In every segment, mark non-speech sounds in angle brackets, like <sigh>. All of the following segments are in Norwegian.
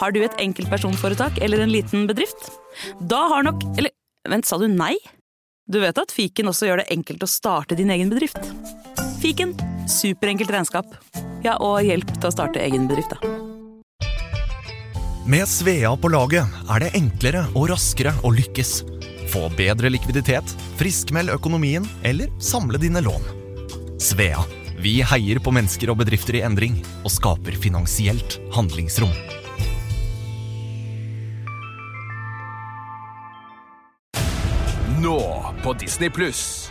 Har du et enkeltpersonforetak eller en liten bedrift? Da har nok Eller vent, sa du nei? Du vet at fiken også gjør det enkelt å starte din egen bedrift? Fiken superenkelt regnskap. Ja, og hjelp til å starte egen bedrift, da. Med Svea på laget er det enklere og raskere å lykkes. Få bedre likviditet, friskmeld økonomien eller samle dine lån. Svea vi heier på mennesker og bedrifter i endring og skaper finansielt handlingsrom. Nå på Disney Pluss.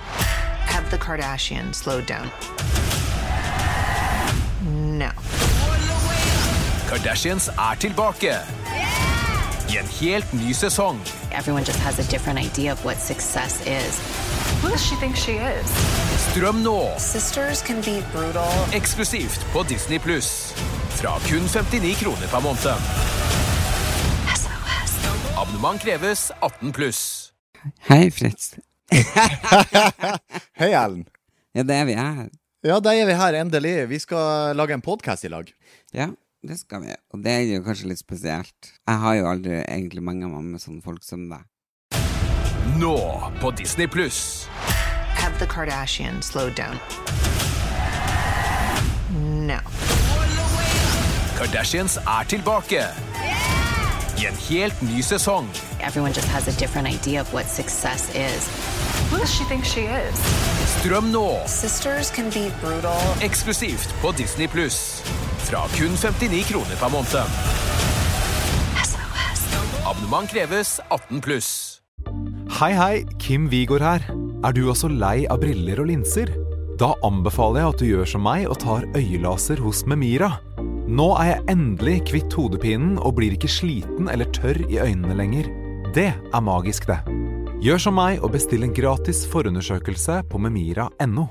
Have the Kardashians slowed down? No. Kardashians er tilbake. I en helt ny sesong. Everyone just has a different idea of what success is. Who does she think she is? Strøm nå, Sisters can be brutal. eksklusivt på Disney Pluss. Fra kun 59 kroner per måned. Abonnement kreves 18 pluss. Hei, Fritz. <laughs> Hei, Ellen. Ja, det er vi her. Ja, da er vi her endelig. Vi skal lage en podkast i lag. Ja, det skal vi. Og det er jo kanskje litt spesielt. Jeg har jo aldri egentlig mange meg med sånne folk som deg. Nå på Disney Pluss. Have the Kardashians slowed down? No. Kardashians er tilbake. I en helt ny sesong. Everyone just has a different idea of what success is. Who does she think she is? Strøm nå, Sisters can be brutal. eksklusivt på Disney Pluss. Fra kun 59 kroner per måned. Abonnement kreves 18 pluss. Hei, hei, Kim Vigor her. Er du også lei av briller og linser? Da anbefaler jeg at du gjør som meg og tar øyelaser hos Memira. Nå er jeg endelig kvitt hodepinen og blir ikke sliten eller tørr i øynene lenger. Det er magisk, det. Gjør som meg og bestill en gratis forundersøkelse på memira.no.